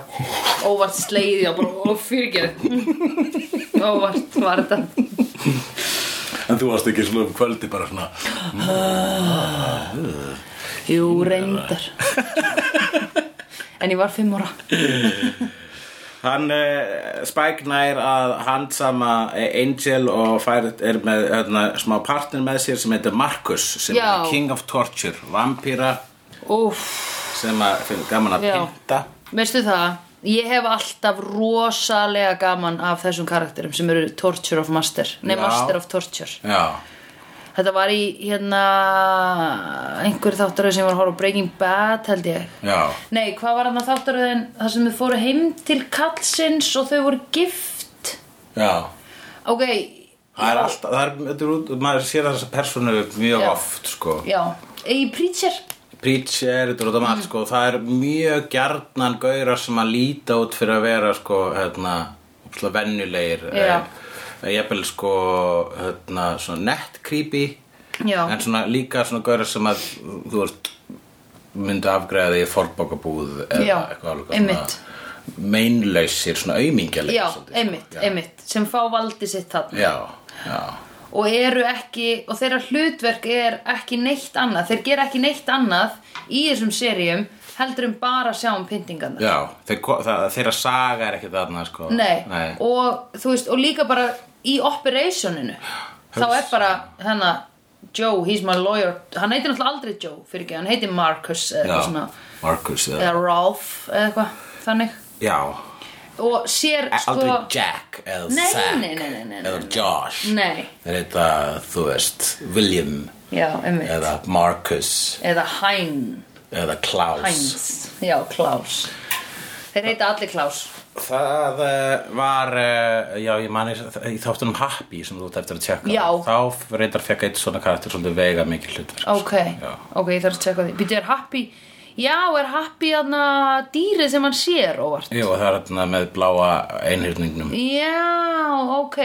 A: Óvart slegið, já, bara og fyrirgerð Óvart var þetta
B: en þú varst ekki svona um kvöldi bara svona
A: Jú, reyndar En ég var fimm ára
B: Hann, uh, Spike nær að handsama eh, Angel og fær, er með öðna, smá partner með sér sem heitir Marcus sem
A: Já.
B: er King of Torture, vampíra
A: Úff
B: sem að finnir gaman að
A: Já.
B: pynta
A: Veistu það, ég hef alltaf rosalega gaman af þessum karakterum sem eru Torture of Master Nei,
B: Já.
A: Master of Torture
B: Já,
A: Þetta var í hérna einhver þáttaröð sem ég var að horfa á Breaking Bad held ég
B: já,
A: Nei, hvað var hann að þáttaröðin þar sem þau fóru heim til kallsins og þau voru gift
B: já
A: Ok,
B: Það er alltaf, það er, þetta er út, maður sér þessa persónu mjög
A: Já.
B: oft, sko
A: já, í Preacher
B: Preacher, þetta er út um
A: Mhm.
B: allt, sko Það er mjög gjarnan gaurar sem að líta út fyrir að vera, sko, hérna Úsla venjulegir
A: Já.
B: Ég er sko, hérna, svona net creepy
A: Já,
B: en svona líka svona gauðra sem að þú veist myndu afgræða því fórbókabúð eða
A: Já,
B: eitthvað alveg
A: einmitt.
B: svona meinlausir, svona aumingjaleg
A: já, einmitt, einmitt sem fá valdi sitt þarna
B: sko. já, já,
A: og eru ekki, og þeirra hlutverk er ekki neitt annað, þeir gera ekki neitt annað í þessum seríum heldur um bara að sjá um pyntingarna
B: já Þeir, ko- það, þeirra saga er ekki þarna sko.
A: Nei,
B: Nei.
A: Og, þú veist, og líka bara í operationinu þá er bara hana Joe, he's my lawyer hann heitir náttúrulega aldrei Joe fyrir ekki, hann heitir Marcus eða,
B: já,
A: eitthvað svona,
B: Marcus eða,
A: eða Ralph eða eitthvað þannig
B: já,
A: og sér
B: Eh, aldrei
A: sko
B: Jack eða
A: Nei,
B: Zack
A: nei, nei, nei, nei, nei. Mm.
B: eða Josh
A: Nei,
B: þeir heita, þú veist, William
A: já, einmitt eða,
B: eða Marcus
A: Hein
B: eða Klaus
A: Heinz, já, Klaus þeir heita allir Klaus
B: Það uh, var, uh, já ég mani í þáttunum Happy sem þú ert eftir að tjekka
A: Já.
B: Þá reyndar fekk eitt svona karakter svolítið veiga mikið hlutverk sko.
A: ok,
B: Já.
A: ok, ég þarf að tjekka því býtu, er Happy, já, er Happy aðna dýrið sem hann sér óvart
B: Jú, og það er þarna með bláa einhyrningnum
A: Já, ok,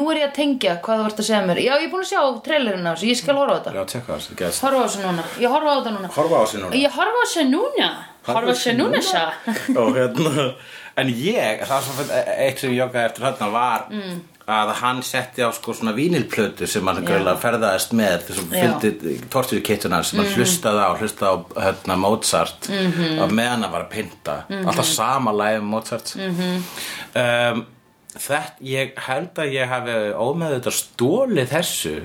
A: nú er ég að tengja hvað þú ert að segja mér Já, ég er búin að sjá trailerinn á þessu, ég skal horfa á þetta
B: Já, tjekka það, það gerst
A: Horfa á þessu núna, ég horfa á þetta núna
B: Horfa á sig núna
A: Ég horfa á þessu núna, horfa á þessu núna sá
B: [LAUGHS] Og hérna, en ég, það var svona e- eitt sem ég joggaði eftir hérna var
A: Mm.
B: að hann setti á sko svona vínilplötu sem hann gröðlega ferðaðist með þessum
A: Já. Mm.
B: fylgdi torturkittunar sem hann hlustaði á, hlustaði á hérna, Mozart mm
A: Mhm.
B: -hmm. og meðan hann var að pynta alltaf sama lagi um Mozart mm
A: Mhm.
B: um, þetta, ég held að ég hafi ómeðu þetta stólið þessu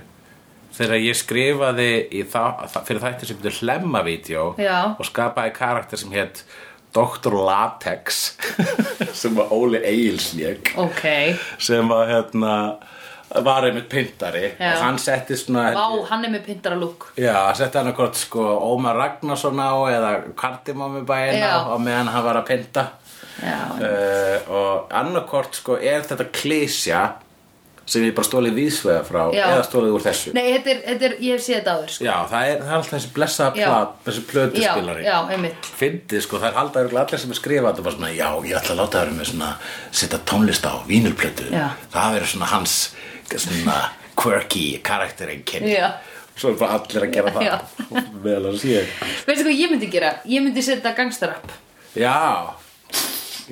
B: þegar ég skrifaði í það, fyrir þætti sem byrja hlemmavídeó
A: Já.
B: og skapaði karakter sem hétt Dr. Latex [LAUGHS] sem var Óli Egilslék
A: Ok,
B: sem var hérna var einmitt pyntari
A: Já.
B: og hann setti svona
A: vá, hann er með pintara lúk
B: Já, hann setti hann akkvort sko Ómar Ragnarsson á eða Kardimómi bæinn
A: Já.
B: á og meðan hann var að pynta
A: Já,
B: uh, og annarkort sko er þetta klísja sem ég bara stólið víðsvega frá
A: Já.
B: eða stólið úr þessu
A: nei, þetta er, þetta er, ég hef séð þetta áður sko
B: Já, það er, það er alltaf þessi blessaða
A: Já.
B: plat, þessi
A: Já,
B: plötuspilari
A: já, einmitt
B: Fyndið, sko, það er halda örugglega allir sem er skrifað þetta var svona, já, ég ætla að láta það með svona setja tónlist á vínulplötu
A: Já.
B: það verður svona hans svona quirky karakterengin
A: Já.
B: Svo er bara allir að gera það
A: Já.
B: meðal hans ég
A: Veistu hvað ég myndi gera? Ég myndi setja gangstarapp
B: Já,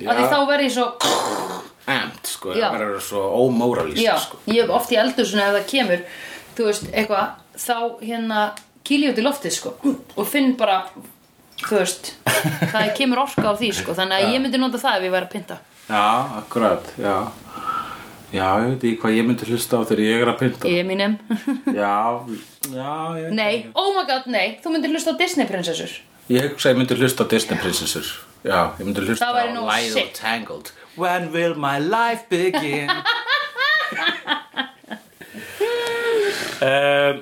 A: Af því þá verð ég svo
B: emt, sko,
A: Já.
B: það verður svo ómóralist
A: Já,
B: sko.
A: ég hef oft í eldur svona ef það kemur þú veist, eitthvað, þá hérna kýl ég út í loftið sko og finn bara, þú
B: [LAUGHS]
A: veist það kemur orka á því sko þannig að ég myndi nota það ef ég væri að pynta
B: Já, akkurat, já Já, ég veit ekki hvað ég myndi hlusta á þegar ég er að pynta
A: Ég er mínum
B: Já, já, ég veit
A: [LAUGHS] Nei, oh my god, nei, þú myndir hlusta á Disney prinsessur
B: Ég hugsa að ég myndi hlusta á Disney prinsessur Já, ég myndi hlusta
A: Það
B: á
A: væri nú
B: Live og
A: sick.
B: Tangled When will my life begin?
A: [LAUGHS]
B: um,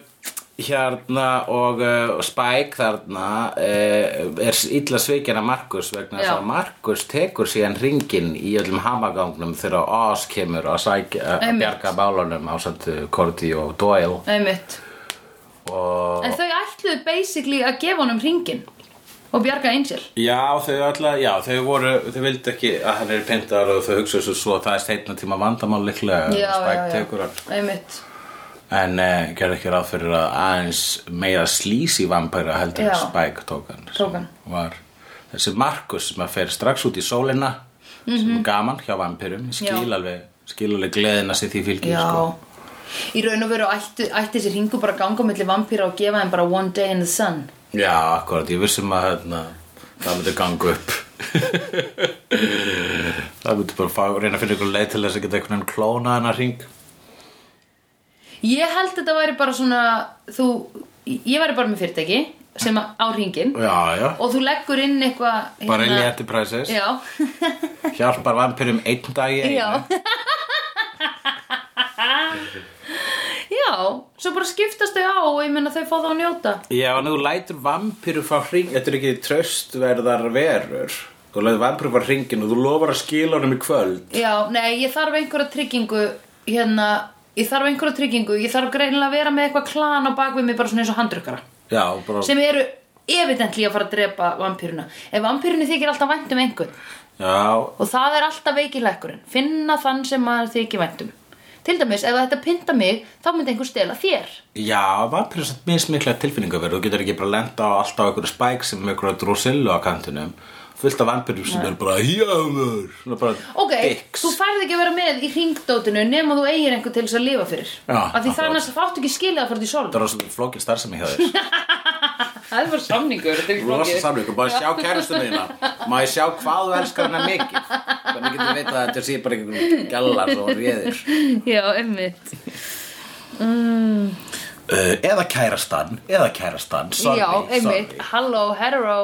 B: hérna og uh, Spike þarna uh, er illa sveikina Markus vegna þess
A: Já.
B: að Markus tekur síðan ringin í öllum hamagangnum þegar Oz kemur að, sækja, að
A: Einmitt.
B: bjarga bálunum á satt Cordy og Doyle
A: Einmitt
B: og
A: En þau ætluðu basically að gefa honum ringin og bjarga Angel
B: Já, þau alltaf, já, þau voru, þau vildu ekki að hann er pyntar og þau hugsa þessu svo að það er steitna tíma vandamál líklega
A: Já,
B: Spike
A: já,
B: tekur
A: já,
B: hann
A: einmitt
B: En eh, gerðu ekki ráð fyrir að aðeins meira slísi vampæra heldur en
A: Já.
B: Spike tók hann
A: Tók hann.
B: sem Var þessi Markus sem að fer strax út í sólina sem er gaman hjá vampyrum skil
A: Mhm. Já.
B: alveg, skil alveg gleðina sér því fylgir
A: Já
B: sko.
A: Í raun og veru ætti, ætti sér hingu bara að ganga á milli vampíra og gefa þeim bara one day in the sun
B: Já, akkurat, ég vissum að hérna, það myndi ganga upp [LAUGHS] Það myndi bara fá, reyna að finna ykkur leið til þess að geta einhvern veginn klóna hennar hring
A: Ég held þetta væri bara svona þú, ég væri bara með fyrirtæki sem að- á ringin
B: Já, já,
A: og þú leggur inn eitthvað hérna-
B: bara Ellie Enterprises
A: Já,
B: Hjálpar vampirum einn dag í einu
A: já Já, svo bara skiptast þau á og ég meina þau fá það að njóta
B: Já, en þú lætur vampiru fá hring Þetta er ekki tröstverðar verur Þú lætur vampiru fá hringin og þú lofar að skila honum í kvöld
A: Já, nei, ég þarf einhverja tryggingu hérna, ég þarf einhverja tryggingu ég þarf greinilega að vera með eitthvað klan á bakvið mig bara svona eins og handrukkara
B: Já, bara
A: sem eru evidently að fara að drepa vampýruna en vampýrunni þykir alltaf vænt um einhvern
B: Já,
A: og það er alltaf veikilækkurinn finna þann sem maður þykir vænt um til dæmis, ef þetta pynta mig þá myndi einhver stela þér
B: Já, vampir er samt mismikla tilfinningaverð Þú getur ekki bara lenda á alltaf einhverju spæk sem með einhverju drosillu á kantinum fullt af vampirum sem er bara jámur svona bara
A: ok,
B: dicks
A: þú færð ekki að vera með í ringdótinu nema þú eigir einhver til þess að lifa fyrir af
B: Já,
A: því
B: akkurat.
A: þannig að það áttu ekki skilið að fara til sól
B: Það er rosalega flókin starfsemi hjá
A: [LAUGHS]
B: þér
A: það er bara samningur, þetta er ekki
B: Rosa
A: flókið.
B: samlingu, bara sjá kærustum þína Má ég sjá hvað þú elskar hana mikið Hvernig getur veit að þetta sé bara einhverjum gjallar og réðir
A: já, emmitt
B: uh, Eða kærastan, eða kærastan Sorry,
A: já, einmitt,
B: sorry
A: halló, hetero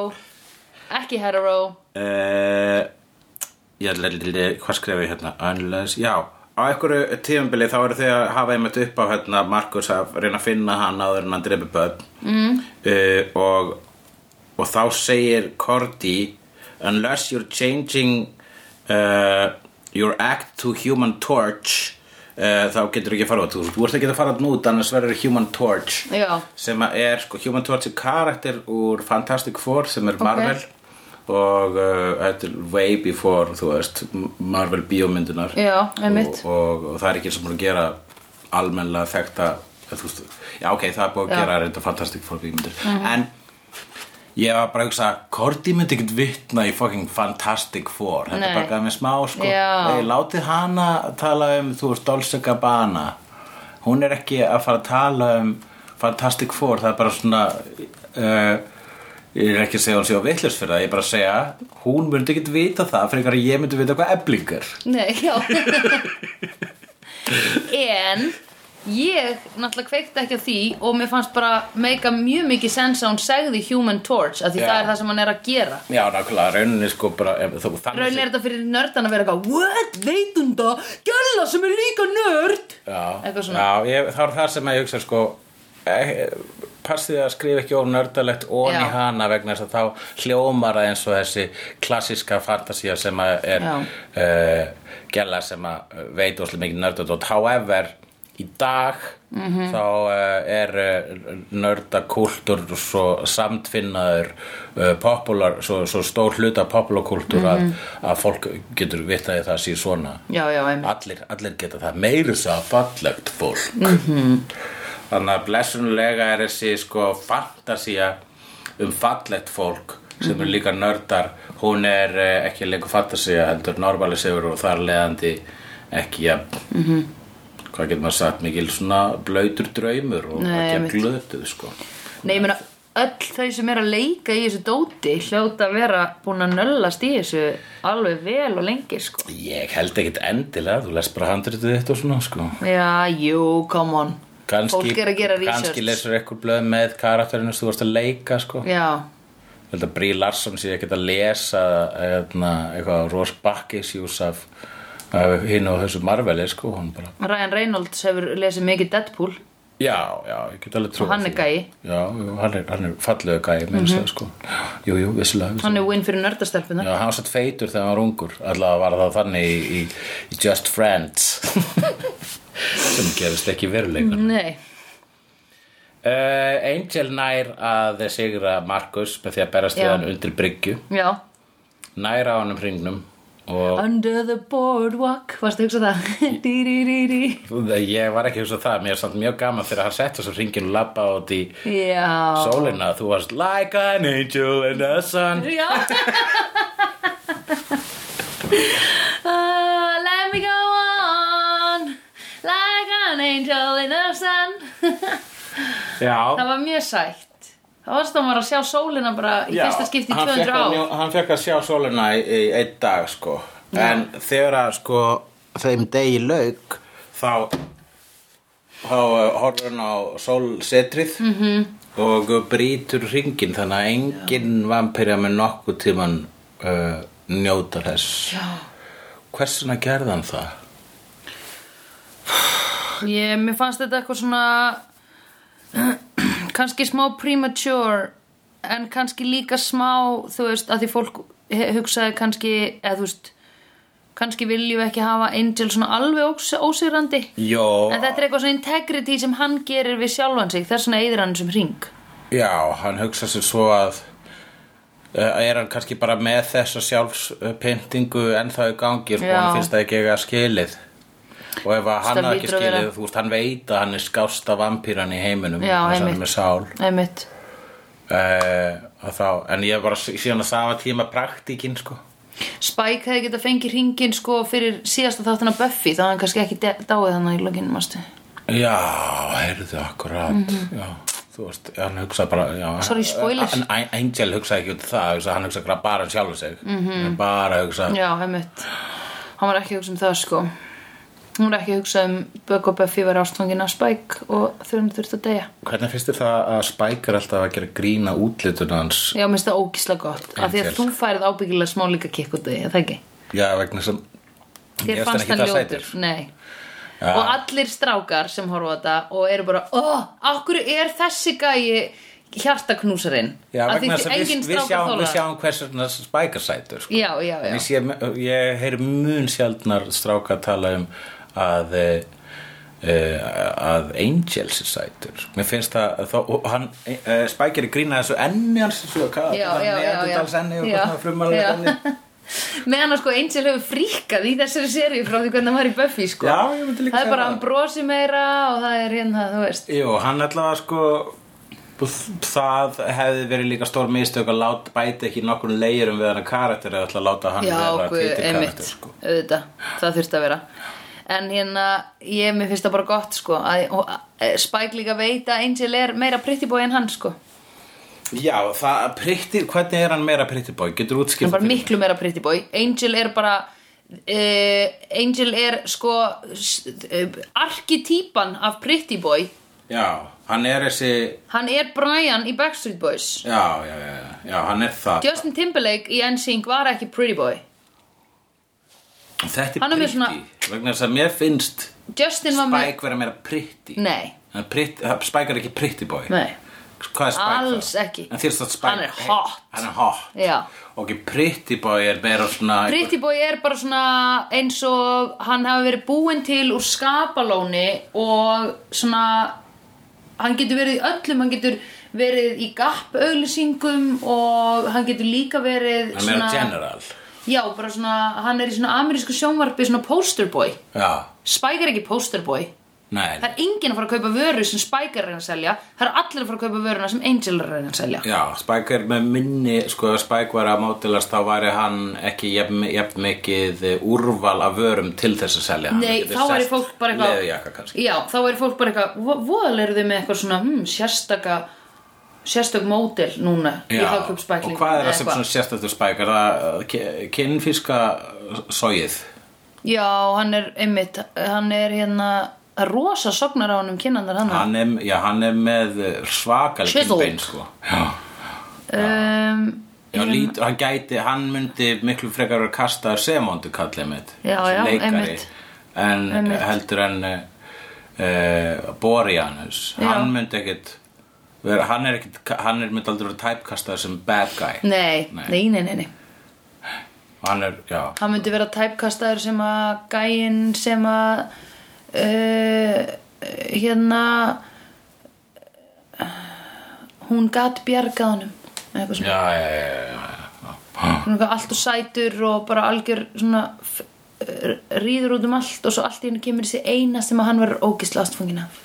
A: ekki hetero
B: Uh, ég ætla að hvað skrifa ég hérna Unless, já, á einhverju tíðumbili þá eru þau að hafa einmitt upp á hérna, Markus að reyna að finna hann áður en hann drefi börn mm. og, og þá segir Cordy Unless you're changing uh, your act to human torch uh, þá getur ekki að fara út þú, þú ert ekki að fara út nút annars verður human torch
A: Já.
B: sem að er sko Human Torch er karakter úr Fantastic Four sem er Marvel og uh, þetta er way before þú veist, Marvel bíómyndunar
A: Já, einmitt.
B: og, og, og það er ekki sem búin að gera almennlega þekta eða þú veist, já ok, það er búin að
A: Já. Mhm.
B: gera reynda Fantastic Four bíómyndur en ég var bara að hugsa Korti myndi ekkert vitna í fucking Fantastic Four þetta
A: Nei.
B: er bara gæði með smá sko
A: Já.
B: Ei, látið hana tala um þú veist Dolce Gabbana hún er ekki að fara að tala um Fantastic Four, það er bara svona uh, ég er ekki að segja hún sé á vitlaus fyrir það, ég er bara að segja hún myndi ekkert vita það, fyrir einhverja ég myndi vita hvað eblingar
A: Nei, já En ég náttúrulega kveikti ekki á því og mér fannst bara meika mjög mikið sens að hún segði Human Torch af því
B: Já.
A: það er það sem hann er að gera
B: já, nákvæmlega, rauninni sko bara ef þú
A: Raun
B: þannig
A: er þetta fyrir nördan að vera eitthvað What? Veitunda? Gjalla sem er líka nörd
B: já,
A: Eitthvað svona
B: já ég, það er það sem að ég hugsa sko eh, passið að skrifa ekki ónördalegt ón í
A: Já.
B: hana vegna þess að þá hljómar það eins og þessi klassíska fantasía sem að er
A: Já.
B: uh, gæla sem að eh, veit óslega mikið nördadótt however í dag
A: Mhm.
B: þá uh, er uh, nördakultúr svo samtfinnaður uh, popular, svo, svo stór hluta popularkultúr
A: Mhm.
B: að, að fólk getur vitað að það sé svona
A: Já, já, einmitt
B: allir, allir geta það meiri svo fallegt fólk þannig að blessunulega er þessi sko fantasía um fallegt fólk sem er líka nördar hún er eh, ekki lengur fantasía heldur normalisefur og þar leðandi ekki að hvað getur maður sagt mikil svona blöytur draumur og
A: Nei,
B: ekki að
A: einmitt.
B: glötuð sko
A: Nei, ég meina öll þau sem er að leika í þessu dóti hljóta að vera búin að nöllast í þessu alveg vel og lengi sko
B: ég held ekkit endilega þú les bara handritið þitt og svona sko
A: Já, jú, come on
B: kannski,
A: Fólk er að gera research
B: kannski lesur eitthvað blöð með karakterinu sem þú varst að leika sko
A: Já,
B: Ég held að Brí Larsson sé ekkert að lesa hérna, eitthvað Rós Bakkis jús af af hinn og þessu Marveli sko, hún bara
A: Ryan Reynolds hefur lesið mikið Deadpool
B: já, já, ég get alveg trú
A: og hann er gæi
B: já, jú, hann er, hann er fallegu gæi mm -hmm. sko. jú, jú, vissilega
A: hann er win fyrir nördastelpuna
B: já, hann var satt feitur þegar hann var ungur allavega var það þannig í, í, í Just
A: [LAUGHS]
B: Friends sem gerist ekki veruleikar
A: Nei,
B: Uh, Angel nær að sigra Markus með því að berast við
A: Já.
B: hann undir bryggju
A: Já.
B: nær á hann um hringnum og
A: Under the boardwalk, varstu að hugsa það? Dí-dí-dí-dí.
B: ég var ekki að hugsa um það mér er samt mjög gaman þegar hann sett þessu hringin og labba út í
A: Já.
B: sólina þú varst like an angel in the sun [LAUGHS]
A: Já. Ah, let me go on like an angel in the
B: [LAUGHS]
A: sun.
B: Já,
A: það var mjög sætt. Það varst að maður að sjá sólina bara í
B: Já,
A: fyrsta skipti í
B: hann fékk
A: 200
B: að
A: ár.
B: njó- hann fekk að sjá sólina í, í einn dag sko en þegar að sko þeim degi lauk þá þá uh, horfir hann á sólsetrið -hmm. og brýtur hringin þannig að engin vampirja með nokkuð tíman uh, njóta þess
A: Já.
B: hversuna gerði hann það?
A: Ég, mér fannst þetta eitthvað svona [CLEARS THROAT] kannski smá premature en kannski líka smá þú veist, að því fólk he- hugsaði kannski, eða þú veist kannski viljum við ekki hafa Angel svona alveg ós ósigrandi
B: Jó,
A: en þetta er eitthvað svona integrity sem hann gerir við sjálfan sig, þess vegna eyðir hann sem hring
B: Já, hann hugsa sér svo að uh, er hann kannski bara með þessa sjálfspyntingu ennþá í gangi sko,
A: Já.
B: hann finnst það ekki eiga skilið og ef að hann
A: Það
B: hafa ekki
A: hlýtur að vera-
B: skilið þú veist, hann veit að hann er skásta vampíran í heiminum
A: Já,
B: þess að hann
A: einmitt.
B: er með sál
A: einmitt,
B: uh, þá, en ég er bara sí- síðan að sama tíma praktíkin sko.
A: Spike hefði getað fengið hringin sko fyrir síðasta þáttan af Buffy þá hann kannski ekki de- dáið hann í lokinn, mástu
B: Já, heyrðu akkurat Já, þú veist, hann hugsa bara já,
A: Mhm. Sorry, spoilers.
B: En An- Angel hugsa ekki út í það hugsa, hann hugsa bara um sjálf sig
A: Mhm.
B: mm -hmm. bara hugsa
A: Já, einmitt Hann var ekki að hugsa um það sko Hún var ekki að hugsa um Bögg og Buffy var ástfangin af Spike og þau hann þurft að deyja
B: Hvernig finnst þér það að Spike er alltaf að gera grína útlitun hans?
A: Já, minnst það ógisla gott af því að
B: Angel.
A: þú færið ábyggilega smá líka kikk út af því, er það ekki
B: Já, vegna sem
A: Þér fannst
B: Mér hann
A: hann
B: ekki það
A: ljótur Nei Og allir strákar sem horfa á þetta og eru bara Ó, akkur er þessi gæi hjartaknúsarinn
B: Já,
A: Af
B: vegna
A: því
B: sem við,
A: enginn
B: við,
A: strákar
B: sjáum,
A: þola
B: við
A: það.
B: sjáum hversu Spike er sætur sko.
A: Já, já, já
B: Ég, sé, ég heyri mun sjaldnar stráka tala um að e, að Angels er sætur mér finnst það þó, og hann, e, Spike er að grína þessu enni hans þessu, hvað,
A: Já, já, já, já.
B: alls enni og
A: Já,
B: hvað frumalega
A: já.
B: enni
A: [LAUGHS] meðan að sko Angel hefur fríkað í þessari seríu frá því hvernig hann var í Buffy sko
B: Já, ég myndi líka
A: það er
B: segja
A: bara
B: það.
A: hann brosi meira og það er hérna, þú veist
B: Jú, hann allavega sko það hefði verið líka stór mistök að láta bæti ekki nokkur leiðurum við hann að karakter eða ætla að láta hann
A: já,
B: vera
A: guð,
B: tvíti
A: einmitt,
B: karakter sko.
A: auðvitað, það þurfti að vera en hérna, ég, mér finnst það bara gott sko, að og, eh, Spike líka veit að Angel er meira pretty boy en hann sko
B: Já, það pritti, hvernig er hann meira pritti bói? Getur útskipt
A: hann er bara miklu meira pretty boy Angel er bara uh, Angel er sko uh, arkitýpan af pretty boy
B: Já, hann er þessi
A: hann er Brian í Backstreet Boys
B: Já, já, já, já, já hann er það
A: Justin Timberlake í NSYNC var ekki pretty boy
B: Þetta
A: hann
B: er
A: er
B: pritti
A: með svona-
B: vegna þess að mér finnst
A: Justin var með
B: Spike vera meira pritti
A: Nei,
B: Spike er ekki pritti bói
A: nei,
B: Hvað er Spike
A: Alls
B: þá?
A: ekki.
B: En þér stótt Spike
A: Hann er hot.
B: Hann er hot
A: já
B: Ok, pritti bói er meira svona
A: Pretty Boy er bara svona eins og hann hafi verið búinn til úr skapalóni og svona hann getur verið í öllum, hann getur verið í gap auglýsingum og hann getur líka verið
B: Hann er meira general
A: já, bara svona, hann er í svona amerísku sjónvarpi svona poster boy
B: Já,
A: Spike er ekki poster boy
B: nei,
A: það er enginn að fara að kaupa vöru sem Spike er að reyna að selja það er allir að fara að kaupa vöruna sem Angel er að reyna að selja
B: já, Spike er með minni, sko, ef Spike var að mótilast þá væri hann ekki jafn, jafn mikið úrval af vörum til þess að selja
A: Nei, þá væri fólk bara eitthvað
B: Leðjaka kannski
A: Já, þá væri fólk bara eitthvað Voðal eru þau með eitthvað svona hmm, sérstaka sérstök módel núna í
B: Já,
A: hagkaup
B: og
A: spækling
B: hvað er það sem svona sérst eftir Spike? Er það uh, ki- kynfíska sóið?
A: Já, hann er einmitt hann er hérna það er rosa sognar á hann um kynnandar hann
B: Hann er, já, hann er með svakaleg
A: Chiseled.
B: kynbein, sko Já,
A: um,
B: já lít, hann gæti, hann myndi miklu frekar vera kastaður sem hóndu kallið mitt
A: Já,
B: sem
A: já,
B: leikari,
A: einmitt.
B: en
A: Einmitt.
B: heldur en uh, Boreanus
A: Já.
B: hann myndi ekkit vera, hann er ekkit, hann er myndi aldrei vera typekastaður sem bad guy
A: Nei,
B: Nei.
A: nei, nei, nei, nei
B: hann er, já,
A: Hann myndi vera tæpkastaður sem að gæinn sem eh, að uh, hérna hún gat bjargað honum eða eitthvað svona,
B: já, já, já, já, já.
A: hún var allt og sætur og bara algjör svona f- r- ríður út um allt og svo allt í hennu kemur þessi eina sem að hann var ógisla ástfungin af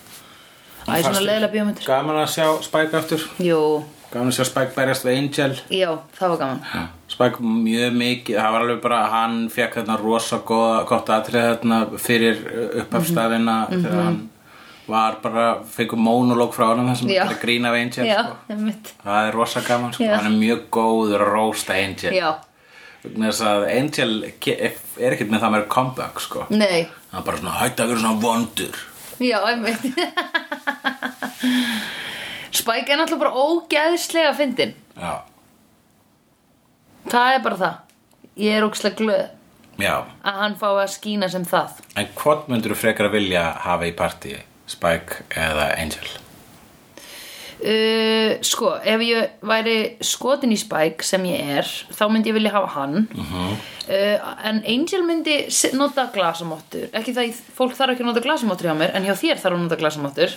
A: Æ, svona leiðilega bíómyndir
B: Gaman að sjá Spike aftur
A: Jú,
B: Gaman að sjá Spike berjast við Angel
A: já, það var gaman
B: Spike mjög mikið, það var alveg bara hann fekk þarna rosa góða, gott atrið þarna fyrir upphafstafina
A: Mhm.
B: þegar hann var bara fekk monolog frá honum þessum
A: Já.
B: grína af Angel
A: Já,
B: sko.
A: einmitt
B: það er rosa gaman sko.
A: Já.
B: hann er mjög góður að rósta Angel
A: Já,
B: vegna þess að Angel ke- er ekkert með það með comeback sko.
A: nei,
B: hann er bara svona hætti að vera svona vondur
A: já, einmitt Spike er náttúrulega bara ógeðslega fyndin
B: já,
A: Það er bara það Ég er ógislega glöð
B: já
A: að hann fái að skína sem það
B: En hvort myndur þú frekar að vilja hafa í partí? Spike eða Angel?
A: uh, Sko, ef ég væri skotin í Spike sem ég er þá myndi ég vilja hafa hann uh, En Angel myndi se- nota glasamottur Ekki það, ég- fólk þarf ekki að nota glasamottur hjá mér en hjá þér þarf að nota glasamottur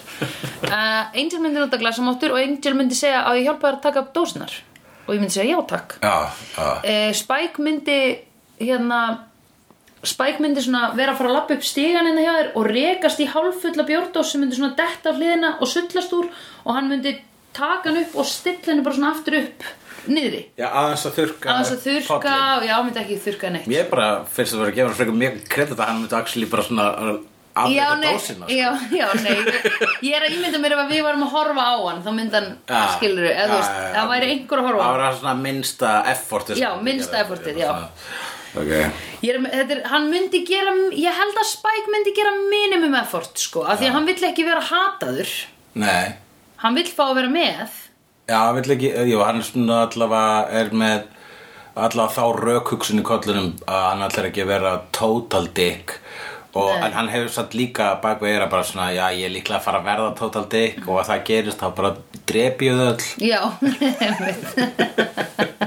A: uh, Angel myndi nota glasamottur og Angel myndi segja að ég hjálpa þér að taka upp dósinar og ég myndi segja já takk
B: Já, já,
A: uh, Spike myndi hérna Spike myndi svona vera að fara að lappa upp stígan hérna hjá þér og rekast í hálffulla bjórdós sem myndi svona detta á hliðina og sullast úr og hann myndi taka hann upp og stilla henni bara svona aftur upp niðri
B: já aðeins að þurrka
A: aðeins að þurrka
B: pollinn.
A: og já, myndi ekki þurrka neitt
B: Ég bara finnst að vera að gefa hann frekar mjög kredit að hann myndi actually bara svona
A: já,
B: afleika
A: nei,
B: dósina sko.
A: já, já, nei ég er að ímynda mér ef að við varum að horfa á hann þá myndi hann, ja,
B: Já,
A: skilur eða
B: já,
A: þú veist,
B: já, já.
A: það væri einhver að horfa á
B: Það
A: hann
B: var svona minnsta effortið sko. sem
A: Já,
B: hann
A: minnsta
B: gerði.
A: effortið, já.
B: Ok
A: Ég er, með- þetta er, hann myndi gera ég held að Spike myndi gera minimum effort sko, af því að hann vill ekki vera hataður
B: Nei,
A: hann vill fá að vera með
B: já, hann vill ekki, eh, jú, hann er svona allavega er með allavega þá rökhugsun í kollunum að hann ætlar ekki að vera total dick og
A: Nei.
B: en hann hefur satt líka bak við eira bara svona, já, ég er líklega að fara að verða total dick og að það gerist þá bara drepi ég þau öll
A: já, [LAUGHS] einmitt.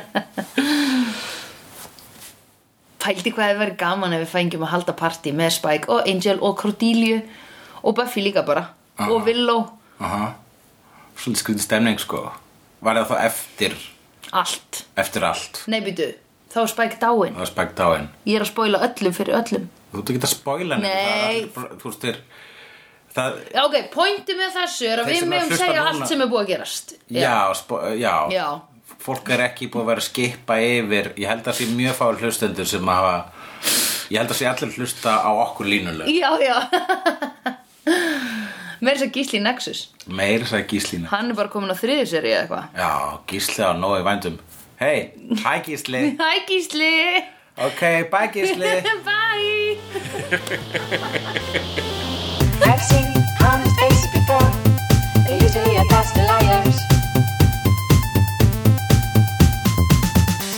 A: pældi hvað það verið gaman ef við fengjum að halda partí með Spike og Angel og Cordelia og Buffy líka bara
B: Ah.
A: og Willow,
B: Aha. Svolítið skrítið stemning, sko Var það þá eftir,
A: allt
B: eftir allt
A: nei býtu, þá er Spike dáin
B: Það var spækt á henn
A: ég er að spoila öllum fyrir öllum
B: Þú ert ekki að spoila neitt,
A: Nei.
B: það er allir bara- Þú veist, þér Það,
A: Já, ok, pointi með þessu er að
B: Þeir
A: við
B: sem eru að
A: meðum
B: hlusta
A: segja
B: núna-
A: allt sem er búið að gerast
B: Já, spo, já.
A: Já.
B: Fólk er ekki búið að vera að skipa yfir Ég held að sé mjög fáir hlustendur sem hafa Ég held að sé allir hlusta á okkur línuleg
A: já, já. [LAUGHS] meira þess að Gísli í Nexus
B: Meir sagði Gíslína
A: Hann er bara komin á þriðju seri eða eitthvað
B: Já, Gísli á nógu í vændum Hei, hæ Gísli
A: Hæ Gísli
B: Ok, bæ Gísli
A: [LAUGHS] Bye
C: I've seen honest faces before. They're usually a pass to liars.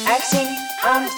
C: I've seen honest